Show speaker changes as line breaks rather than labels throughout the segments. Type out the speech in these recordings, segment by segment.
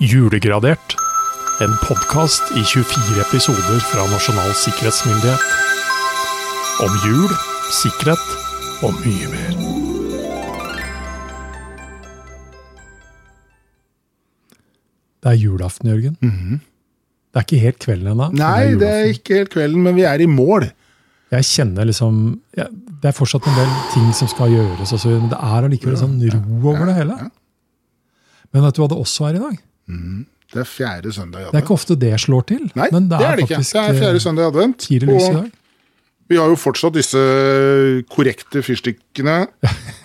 Julegradert. En podkast i 24 episoder fra Nasjonal sikkerhetsmyndighet. Om jul, sikkerhet og mye mer. Det er julaften, Jørgen. Det er ikke helt kvelden ennå. men
Mhm. Nei, det er
julaften.
ikke helt kvelden, men vi er i mål.
Jeg kjenner liksom ja, Det er fortsatt en del ting som skal gjøres, og så, men det er allikevel sånn ro over det hele. Men vet du hva det også er i dag?
Det er fjerde søndag i
Det er
advent.
ikke ofte det slår til.
Nei,
men det er,
det ikke.
faktisk
Det er fjerde søndag i advent.
eh, tidlig lys i dag.
vi har jo fortsatt disse korrekte fyrstikkene,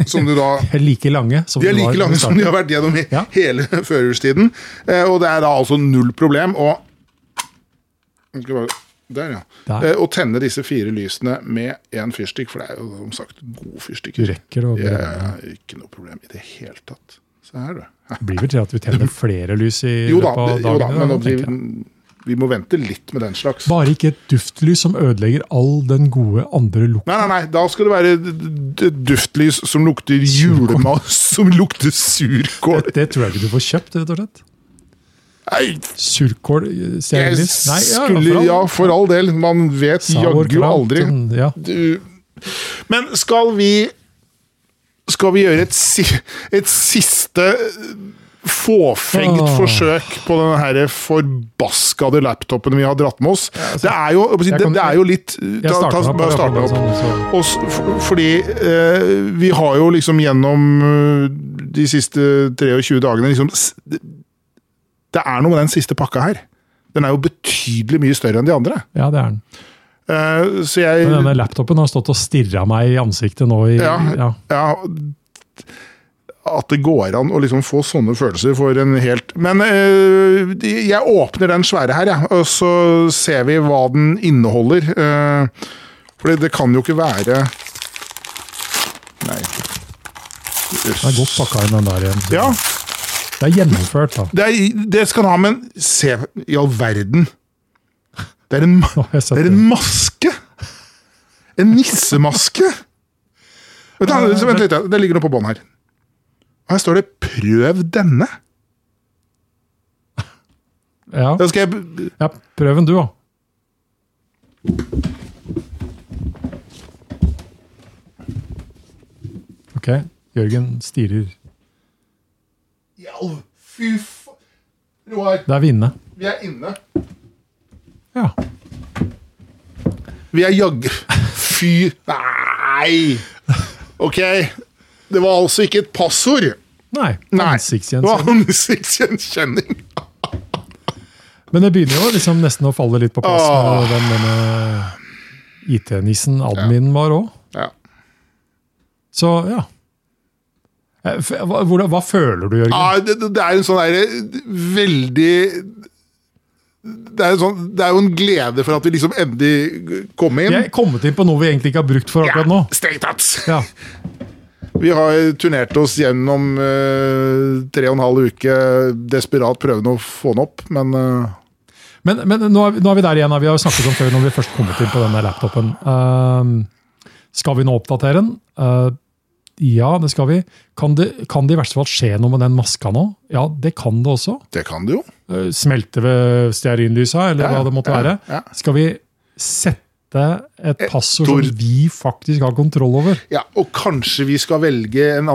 som du da
De er like lange som
De er
det
like
var
lange
i
som
starten.
de har vært gjennom i
Ja.
hele førjulstiden. Eh, Og det er da altså null problem å Skal vi bare- Der, ja.
Der.
Eh, Å tenne disse fire lysene med én fyrstikk, for det er jo som sagt gode
Du
fyrstikker.
rekker det. og
Ja,
det
ja, ja, ikke noe problem i det hele tatt. Se her, du. Hæ.
blir vel til at vi tenner flere lys i
Jo da,
løpet av
jo da
dagen.
men
tenker jeg.
vi, vi må vente litt med den slags.
Bare ikke et duftlys som ødelegger all den gode andre lukten.
Nei, nei, nei, da skal det være d- d- d- duftlys som lukter julemat, som lukter surkål.
Det tror jeg ikke du får kjøpt, rett og slett.
Nei,
Surkål, eh,
jeg
stearinlys Nei, ja,
skulle
for all-
Ja, for all del. Man vet
Sauerkraut,
jaggu aldri.
sånn, Ja.
Du- Men skal vi Skal vi gjøre et, si, et siste fåfengt
Åh.
forsøk på den her forbaskede laptopen vi har dratt med oss? det, er jo,
altså, jeg
det,
kan-
det er jo litt
Jeg
ta- ta-
starter opp.
bare
jeg
starte
får
opp.
sånn, så-
Og s- f- fordi eh, vi har jo liksom gjennom eh, de siste 23 dagene liksom s- Det det er noe med den siste pakka her. Den er jo betydelig mye større enn de andre.
Ja, det er den.
Eh, så jeg
Men denne laptopen har stått og stirra meg i ansiktet nå i
Ja.
ja.
ja, at det går an å liksom få sånne følelser for en helt Men eh, jeg åpner den svære her, jeg, og så ser vi hva den inneholder. Uh, for det kan jo ikke være Nei.
Den er godt pakka inn, den der igjen.
Ja,
Det er gjennomført, da.
det, er, det skal den ha, men se i all verden. Det er en, ma-
Nå har jeg sett
det er en maske! En nissemaske! Vent, da, vent litt, ja. det ligger noe på bånn her. Her står det 'prøv denne'.
Ja.
Da skal jeg
ja, prøv den du, da. Ok, Jørgen stirrer.
Ja, Fy faen. Roar,
Der er vi inne.
vi er inne.
Ja.
Vi er jaggu Fy Nei! Ok. Det var altså ikke et passord.
Nei,
Nei. Det var
ansiktsgjenkjenning.
ansiktsgjenkjenning.
Men det begynner jo liksom nesten å falle litt på plass
Åh.
med den denne IT-nissen adminen var òg.
Ja.
Så ja. Eh, f- Hva, hvordan- hva føler du, Jørgen?
Ja, det, det er en sånn derre veldig det er, en sånn, det er jo en glede for at vi liksom endelig kom inn.
Vi er kommet inn på noe vi egentlig ikke har brukt for akkurat nå.
Strengt tatt.
Ja,
Vi har turnert oss gjennom eh, tre og en halv uke, desperat prøvende å få den opp, men eh,
Men, men nå, er vi, nå er vi der igjen. da. Vi har jo snakket om før når vi først kommet inn på denne laptopen. Ehm, skal vi nå oppdatere den? Eh, ja, det skal vi. Kan det, kan det i verste fall skje noe med den maska nå? Ja, det kan det også.
det kan det jo.
Eh, smelte ved stearinlysa, eller
Ja,
hva det måtte
ja,
være.
ja. Eh,
Skal vi sette et passord
tor-
som vi faktisk har kontroll over?
Ja, Og kanskje vi skal velge en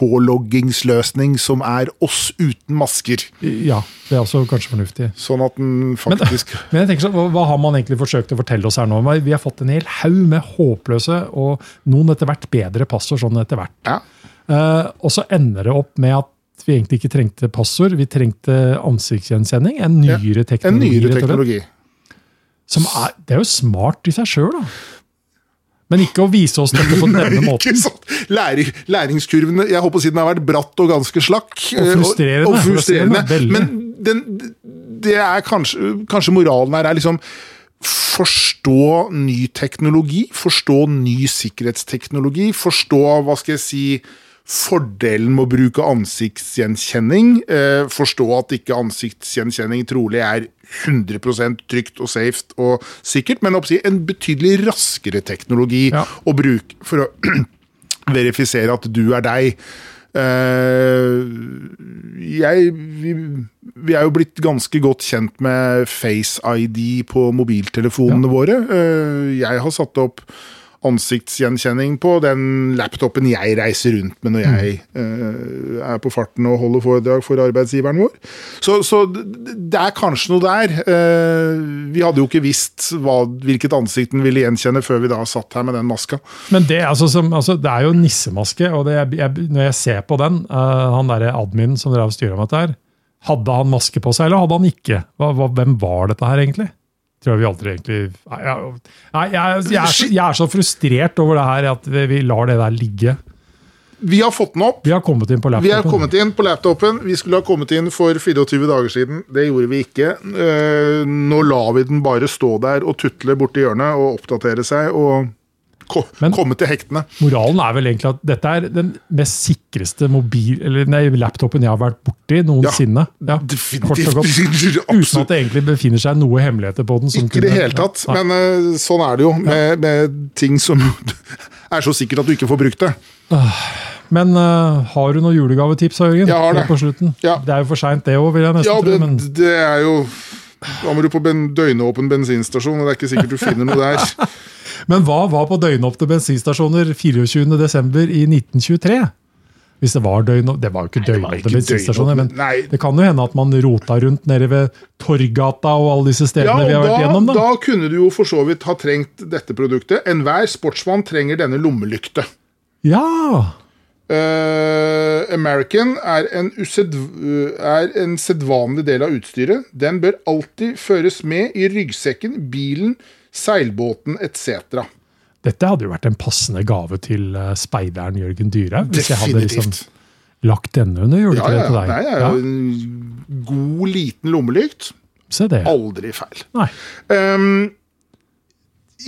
ansiktsgjenkjennings-påloggingsløsning som er oss uten masker,
Ja, det er også kanskje fornuftig.
sånn at den faktisk
Men eh, jeg tenker sånn, hva, hva har man egentlig forsøkt å fortelle oss her nå? Vi har fått en hel haug med håpløse og noen etter hvert bedre passord sånn etter hvert.
Ja.
Eh, og så ender det opp med at vi egentlig ikke trengte passord, vi trengte ansiktsgjenkjenning. En nyere teknologi,
En nyere
rett og slett.
teknologi.
Som er, det er jo smart i seg sjøl, da. Men ikke å vise oss dette på denne måten.
Ikke sant? Læring, læringskurven jeg håper siden den har vært bratt og ganske slakk. eh,
frustrerende,
Og, og
frustrerende,
frustrerende.
sånn, veldig.
Men den, det er kanskje, kanskje moralen her er liksom Forstå ny teknologi, forstå ny sikkerhetsteknologi, forstå hva skal jeg si, fordelen med å bruke ansiktsgjenkjenning. Eh, forstå at ikke ansiktsgjenkjenning trolig er 100 trygt og safe og sikkert, men oppsi, en betydelig raskere teknologi
Ja.
å bruke for å verifisere at du er deg. Eh, jeg, vi, vi er jo blitt ganske godt kjent med face-ID på mobiltelefonene våre. Eh, Jeg har satt opp ansiktsgjenkjenning på den laptopen jeg reiser rundt med når jeg eh, er på farten og holder foredrag for arbeidsgiveren vår. Så, så d- d- det er kanskje noe der. Eh, Vi hadde jo ikke visst hva, hvilket ansikt den ville gjenkjenne før vi da satt her med den maska.
Men det, altså, som, altså, det er jo nissemaske, og det, jeg, jeg, når jeg ser på den, eh, han derre adminen som drev og styra med dette her, hadde han maske på seg, eller hadde han ikke? Hva, hva, hvem var dette her, egentlig? Tror jeg vi aldri egentlig Nei, jeg, nei, jeg, jeg, er, så, jeg er så frustrert over det her at vi, vi lar det der ligge.
Vi har fått den opp.
Vi har kommet inn på
Vi er kommet
laptopen.
inn på laptopen. Vi skulle ha kommet inn for 24 dager siden. Det gjorde vi ikke. Eh, Nå lar vi den bare stå der og tutle borti hjørnet og oppdatere seg og ko
Men-
komme til hektene.
Moralen er vel egentlig at dette er den mest sikreste mobil, eller, nei, laptopen jeg har vært borti noensinne. Ja, kort og godt. Uten
Definitivt.
at
Absolutt.
det egentlig befinner seg noe hemmeligheter på den. som
Ikke i det
kunne-
hele tatt.
Nei.
Men eh, sånn er det jo med, med ting som er så sikkert at du ikke får brukt det.
Men eh, har du noen julegavetips, Jørgen?
Jeg har det.
Helt På slutten?
Ja.
Det er jo for seint, det òg, vil jeg nesten
Ja,
tro.
det,
Men
det er jo Da må du på ben, døgnåpen bensinstasjon, og det er ikke sikkert du finner noe der.
Men hva var på døgnåpne bensinstasjoner 24.12. i 1923? Hvis det var døgn... Det var jo ikke
var
døgnåpne
ikke
bensinstasjoner, men
døgnåpne, nei.
det kan jo hende at man rota rundt nede ved Torggata og alle disse stedene vi har
og
vært gjennom. Da.
da kunne du jo for så vidt ha trengt dette produktet. Enhver sportsmann trenger denne lommelykte.
Ja!
Eh, American er en, used, er en sedvanlig del av utstyret. Den bør alltid føres med i ryggsekken, bilen, seilbåten etc.
Dette hadde jo vært en passende gave til eh, speideren Jørgen Dyrhaug. Hvis jeg hadde liksom
Definitivt.
lagt denne under
Ja, ja,
juletreet
ja.
til deg.
Nei, ja, ja. En god, liten lommelykt.
Se det.
Aldri feil.
Nei.
Ehm,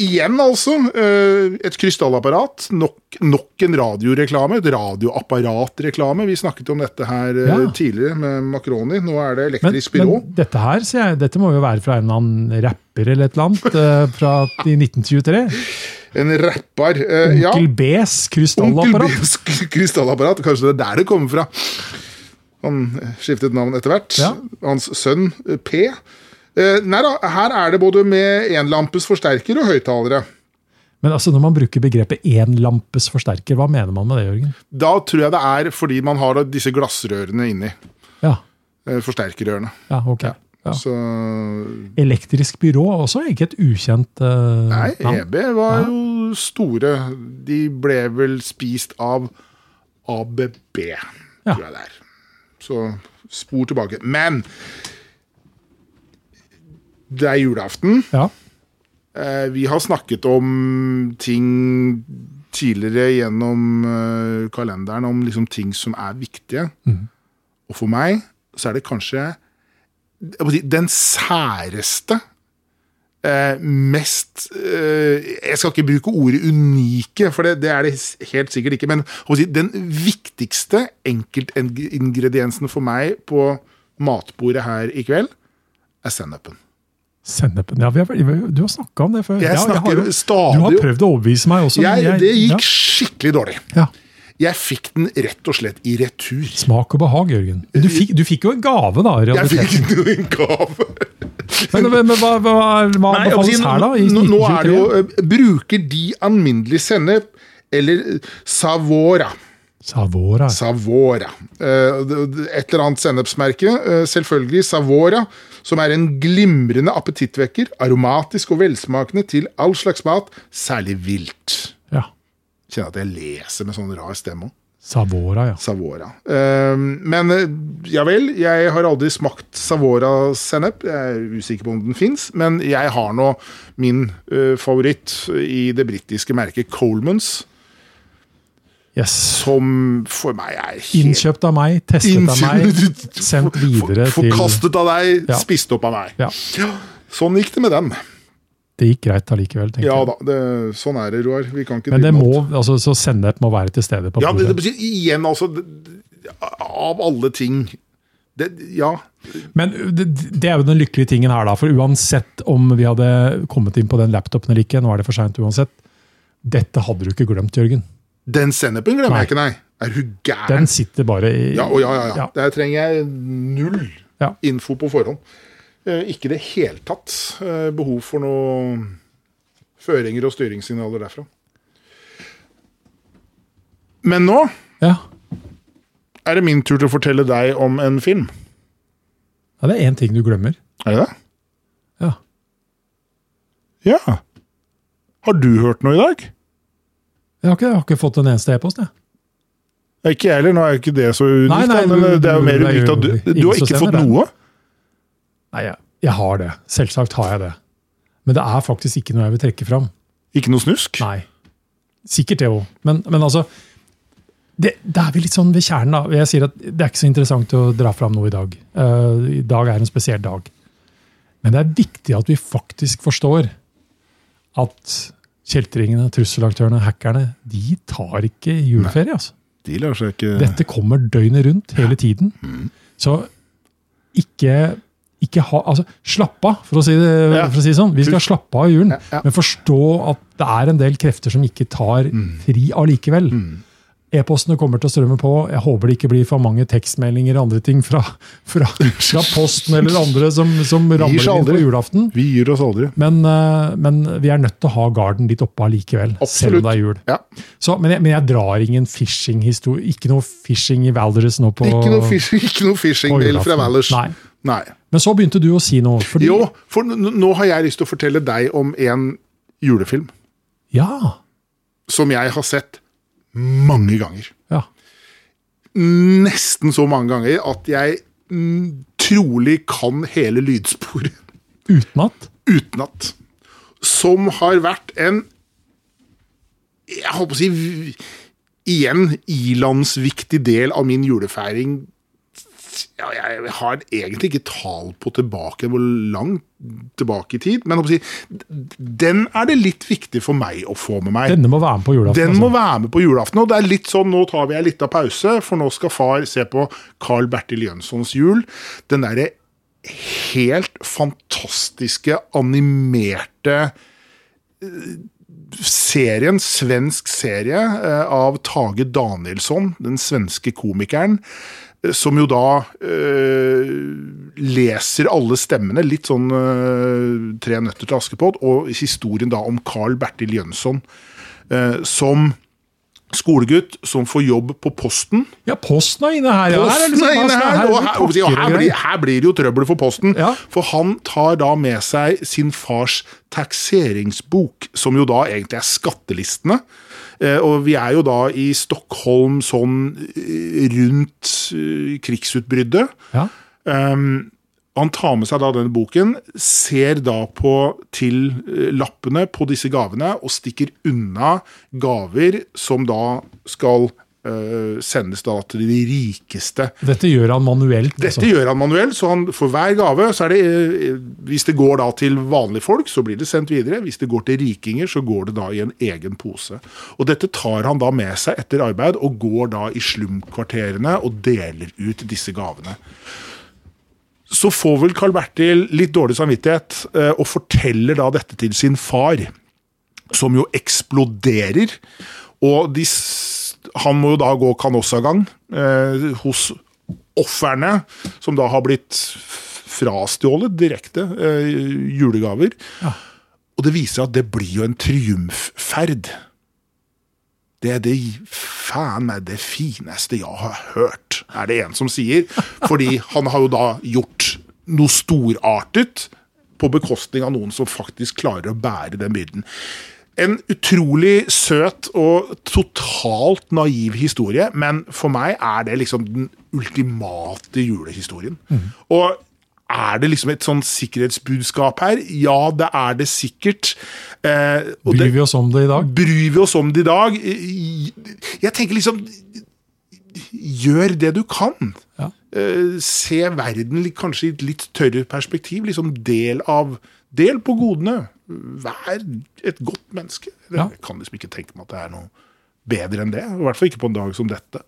igjen, altså. eh, et krystallapparat. Nok, nok en radioreklame. Et radioapparatreklame. Vi snakket om dette her eh,
Ja.
tidligere med Makroni. Nå er det
Men,
elektrisk byrå.
men dette her, sier jeg, dette må jo være fra en eller annen rapper eller et eller annet eh, fra i 1923.
En rapper. eh, ja.
Onkel Bs
Onkel
krystallapparat.
Bs k- krystallapparat. Kanskje det er der det kommer fra. Han eh, skiftet navn etter hvert.
Ja.
Hans sønn eh, P. Eh, nei da, her er det både med enlampes forsterker og høyttalere.
Men altså, når man bruker begrepet énlampes forsterker, hva mener man med det, Jørgen?
Da tror jeg det er fordi man har disse glassrørene inni.
Ja,
eh, Forsterkerørene.
ja ok. Ja.
Så
Elektrisk byrå er også ikke et ukjent eh,
Nei,
navn.
EB var jo store. De ble vel spist av ABB, tror jeg det er. Så spor tilbake. Men det er julaften.
Ja.
Eh, Vi har snakket om ting tidligere gjennom eh, kalenderen, om liksom ting som er viktige.
Mhm.
Og for meg så er det kanskje jeg må si, den særeste eh, mest eh, Jeg skal ikke bruke ordet unike, for det, det er det s- helt sikkert ikke. Men jeg må si, den viktigste enkeltingrediensen for meg på matbordet her i kveld, er sennepen.
Sennepen. Ja, vi har, vel- du har snakka om det før.
Jeg
ja,
snakker
har jo-
stadig
Du har
om-
prøvd å overbevise meg også. men
Jeg, det
ja.
gikk skikkelig dårlig.
Ja.
Jeg fikk den rett og slett i retur.
Smak og behag, Jørgen. Du fikk, du fikk jo en gave, da. i
Jeg fikk
realiteten.
den i gave.
Men, men, men hva, hva, hva
Nei, jeg må si,
anbefales her, da? I
nå, nå er det
1923?
jo eh, Bruker de alminnelig sennep, eller eh, savora?
Savora.
Savora. Eh, d- d- Et eller annet sennepsmerke. eh, Selvfølgelig Savora, som er en glimrende appetittvekker. Aromatisk og velsmakende til all slags mat, særlig vilt.
Ja.
Kjenner at jeg leser med sånn rar stemme. også.
Savora, ja.
Savora. Eh, men eh, ja vel, jeg har aldri smakt Savora-sennep. Jeg er usikker på om den fins, men jeg har nå min eh, favoritt i det britiske merket Colemans,
Yes.
som for meg er helt
Innkjøpt av meg, testet av meg,
Innkjøpt-
sendt videre
for-
til
Forkastet av deg,
Ja.
spist opp av meg.
Ja.
Sånn gikk det med den.
Det gikk greit allikevel, tenker
Ja
jeg.
da, det, sånn er det, Roar. Vi kan ikke
Men det
drive med alt.
må, altså, så sennep må være til stede på
Ja, det,
bordet.
det betyr igjen, altså det, det- Av alle ting det, Ja.
Men det, det er jo den lykkelige tingen her, da. For uansett om vi hadde kommet inn på den laptopen eller ikke, nå er det for seint uansett. Dette hadde du ikke glemt, Jørgen.
Den sennepen glemmer jeg ikke, nei. Er du gæren?
Den sitter bare i
Ja, å, ja, ja, ja.
Ja.
Der trenger jeg null
Ja.
info på forhånd. Eh, Ikke i det hele tatt eh, behov for noe føringer og styringssignaler derfra. Men nå
Ja.
er det min tur til å fortelle deg om en film.
ja, det er én ting du glemmer.
Er det det?
Ja.
Ja. Har du hørt noe i dag?
Jeg har ikke, jeg har ikke fått en eneste e-post, jeg.
Nei, Ikke jeg heller. Nå er jo ikke det så unikt.
Nei, nei,
da, men
du-
det er jo
du-
mer
det er
unikt
jo
at du, du
ingen
har
som
ikke
sender
fått
den.
noe.
Nei, jeg, jeg har det. Selvsagt har jeg det. Men det er faktisk ikke noe jeg vil trekke fram.
Ikke noe snusk?
Nei. Sikkert det òg. Men, men altså det, det er vi litt sånn ved kjernen. da. Jeg sier at Det er ikke så interessant å dra fram noe i dag. Eh, I dag er en spesiell dag. Men det er viktig at vi faktisk forstår at kjeltringene, trusselaktørene, hackerne, de tar ikke juleferie. altså.
De lar seg ikke
Dette kommer døgnet rundt hele tiden.
Mm.
Så ikke, ikke ha Altså, slapp av, for å si det
Ja.
for å si det sånn. Vi skal slappe av i julen,
Ja, ja.
men forstå at det er en del krefter som ikke tar
Mm.
fri allikevel. E-postene kommer til å strømme på. Jeg håper det ikke blir for mange tekstmeldinger og andre ting fra, fra, fra posten eller andre som, som ramler
seg
inn på
aldri.
julaften.
Vi gir oss aldri.
Men, eh, men vi er nødt til å ha garden litt oppe allikevel, selv
Absolutt.
om det er jul.
Ja.
Så, men, jeg, men jeg drar ingen phishing-historie. Ikke noe phishing i Valdres nå på
Ikke noe, fish, ikke noe fishing
på
mail
julaften.
fra Valers.
Nei.
Nei.
Men så begynte du å si noe. Fordi,
Jo, for n- n- nå har jeg lyst til å fortelle deg om en julefilm
Ja,
som jeg har sett mange ganger.
ja.
Nesten så mange ganger at jeg mm, trolig kan hele lydsporet
Utenat.
utenat. Som har vært en Jeg holdt på å si v- igjen ilandsviktig del av min julefeiring. Ja, jeg har egentlig ikke tall på tilbake hvor langt tilbake i tid, men jeg holdt på å si, d- den er det litt viktig for meg å få med meg.
Denne må være med på julaften. altså.
Den må være med på julaften. Og det er litt sånn, nå tar vi en liten pause, for nå skal far se på Carl Bertil Jønssons jul. Den derre helt fantastiske animerte eh, serien, svensk serie, eh, av Tage Danielsson, den svenske komikeren. eh, Som jo da eh, leser alle stemmene, litt sånn eh, Tre nøtter til Askepott, og historien da om Carl Bertil Jønsson eh, som skolegutt som får jobb på Posten.
Altså. Ja, Posten er inne her. Ja. Her er det
Posten er
liksom-
inne her, og her,
er
og
det pakker
her, blir,
greier.
her blir det jo trøbbel for Posten.
Ja.
For han tar da med seg sin fars takseringsbok, som jo da egentlig er skattelistene. Eh, Og vi er jo da i Stockholm sånn eh, rundt eh, krigsutbruddet.
Ja.
Ehm, han tar med seg da denne boken, ser da på til eh, lappene på disse gavene og stikker unna gaver som da skal eh, sendes da til de rikeste.
Dette gjør han manuelt.
Dette
altså.
gjør han manuelt, så han for hver gave så er det eh, Hvis det går da til vanlige folk, så blir det sendt videre. Hvis det går til rikinger, så går det da i en egen pose. Og dette tar han da med seg etter arbeid og går da i slumkvarterene og deler ut disse gavene. Så får vel Carl Bertil litt dårlig samvittighet eh, og forteller da dette til sin far som jo eksploderer. Og de, s- han må jo da gå kanossagang eh, hos ofrene, som da har blitt f- frastjålet direkte eh, julegaver. Og det viser at det blir jo en triumfferd. Det er det faen meg det fineste jeg har hørt, er det en som sier. Fordi han har jo da gjort noe storartet på bekostning av noen som faktisk klarer å bære den byrden. En utrolig søt og totalt naiv historie, men for meg er det liksom den ultimate julehistorien. Og er det liksom et sånn sikkerhetsbudskap her? Ja, det er det sikkert. Eh, og det-
Bryr vi oss om det i dag?
bryr vi oss om det i dag? Jeg tenker liksom Gjør det du kan.
Ja.
Eh, Se verden litt- kanskje i et litt tørre perspektiv. Liksom del av Del på godene. Vær et godt menneske.
Ja.
Jeg kan liksom ikke tenke meg at det er noe bedre enn det. I hvert fall ikke på en dag som dette.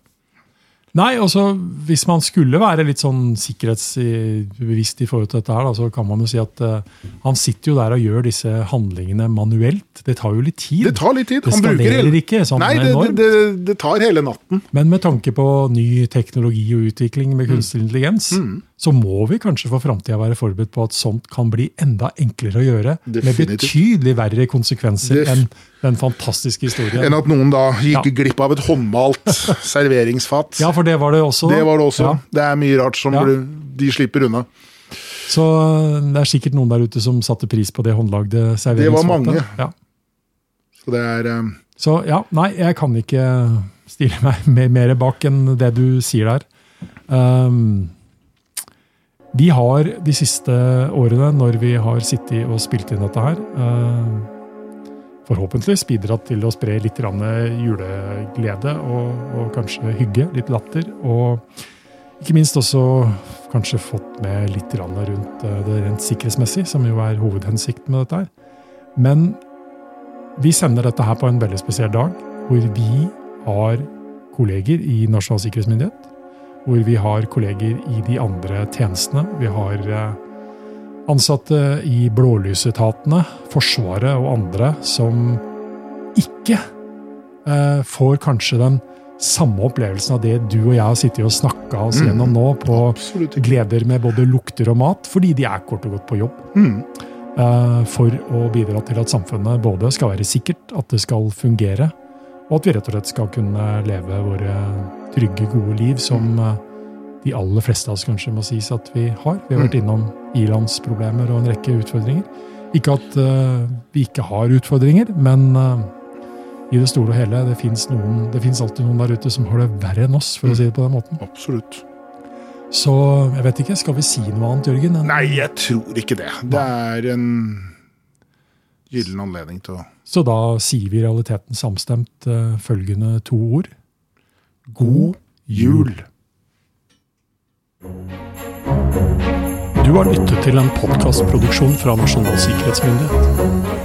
Nei, altså, Hvis man skulle være litt sånn sikkerhetsbevisst i forhold til dette, her, da, så kan man jo si at eh, han sitter jo der og gjør disse handlingene manuelt. Det tar jo litt tid.
Det tar litt tid.
Det
Han bruker
skalerer ikke, sånn
Nei, det,
enormt.
det, det, det tar hele natten.
Men med tanke på ny teknologi og utvikling med
Mm.
kunstig intelligens, så må vi kanskje for framtida være forberedt på at sånt kan bli enda enklere å gjøre, med
Definitivt.
betydelig verre konsekvenser
Def-
enn den fantastiske historien.
Enn at noen da gikk
Ja.
glipp av et håndmalt serveringsfat.
Ja, for det var det også. da.
Det var det også.
Ja.
Det er mye rart som
Ja.
blir- de slipper unna.
Så det er sikkert noen der ute som satte pris på det håndlagde serveringsfatet.
Det var mange.
Ja.
Så det er eh,
Så ja, nei, jeg kan ikke stille meg mer, mer bak enn det du sier der. Ehm, vi har de siste årene, når vi har sittet og spilt inn dette her, ehm, forhåpentligvis bidratt til å spre litt grann juleglede og, og kanskje hygge, litt latter. Og ikke minst også kanskje fått med litt grann rundt eh, det rent sikkerhetsmessig, som jo er hovedhensikten med dette her. Men vi sender dette her på en veldig spesiell dag, hvor vi har kolleger i Nasjonal sikkerhetsmyndighet, hvor vi har kolleger i de andre tjenestene. Vi har eh, ansatte i blålysetatene, Forsvaret og andre som ikke eh, får kanskje den samme opplevelsen av det du og jeg har sittet og snakka oss
Mm.
gjennom nå, på
absolutt ikke
gleder med både lukter og mat, fordi de er kort og godt på jobb
mm.
eh, for å bidra til at samfunnet både skal være sikkert, at det skal fungere, og at vi rett og slett skal kunne leve våre trygge, gode liv som eh, de aller fleste av oss kanskje må sies at vi har. Vi har vært innom ilandsproblemer og en rekke utfordringer. Ikke at eh, vi ikke har utfordringer, men eh, i det store og hele, det fins alltid noen der ute som har det verre enn oss, for å si det på den måten.
Absolutt.
Så jeg vet ikke, skal vi si noe annet, Jørgen? enn-
Nei, jeg tror ikke det. Det er en gyllen anledning til å
Så da sier vi i realiteten samstemt eh, følgende to ord.
God jul!
Du har lyttet til en podkastproduksjon fra Nasjonal sikkerhetsmyndighet.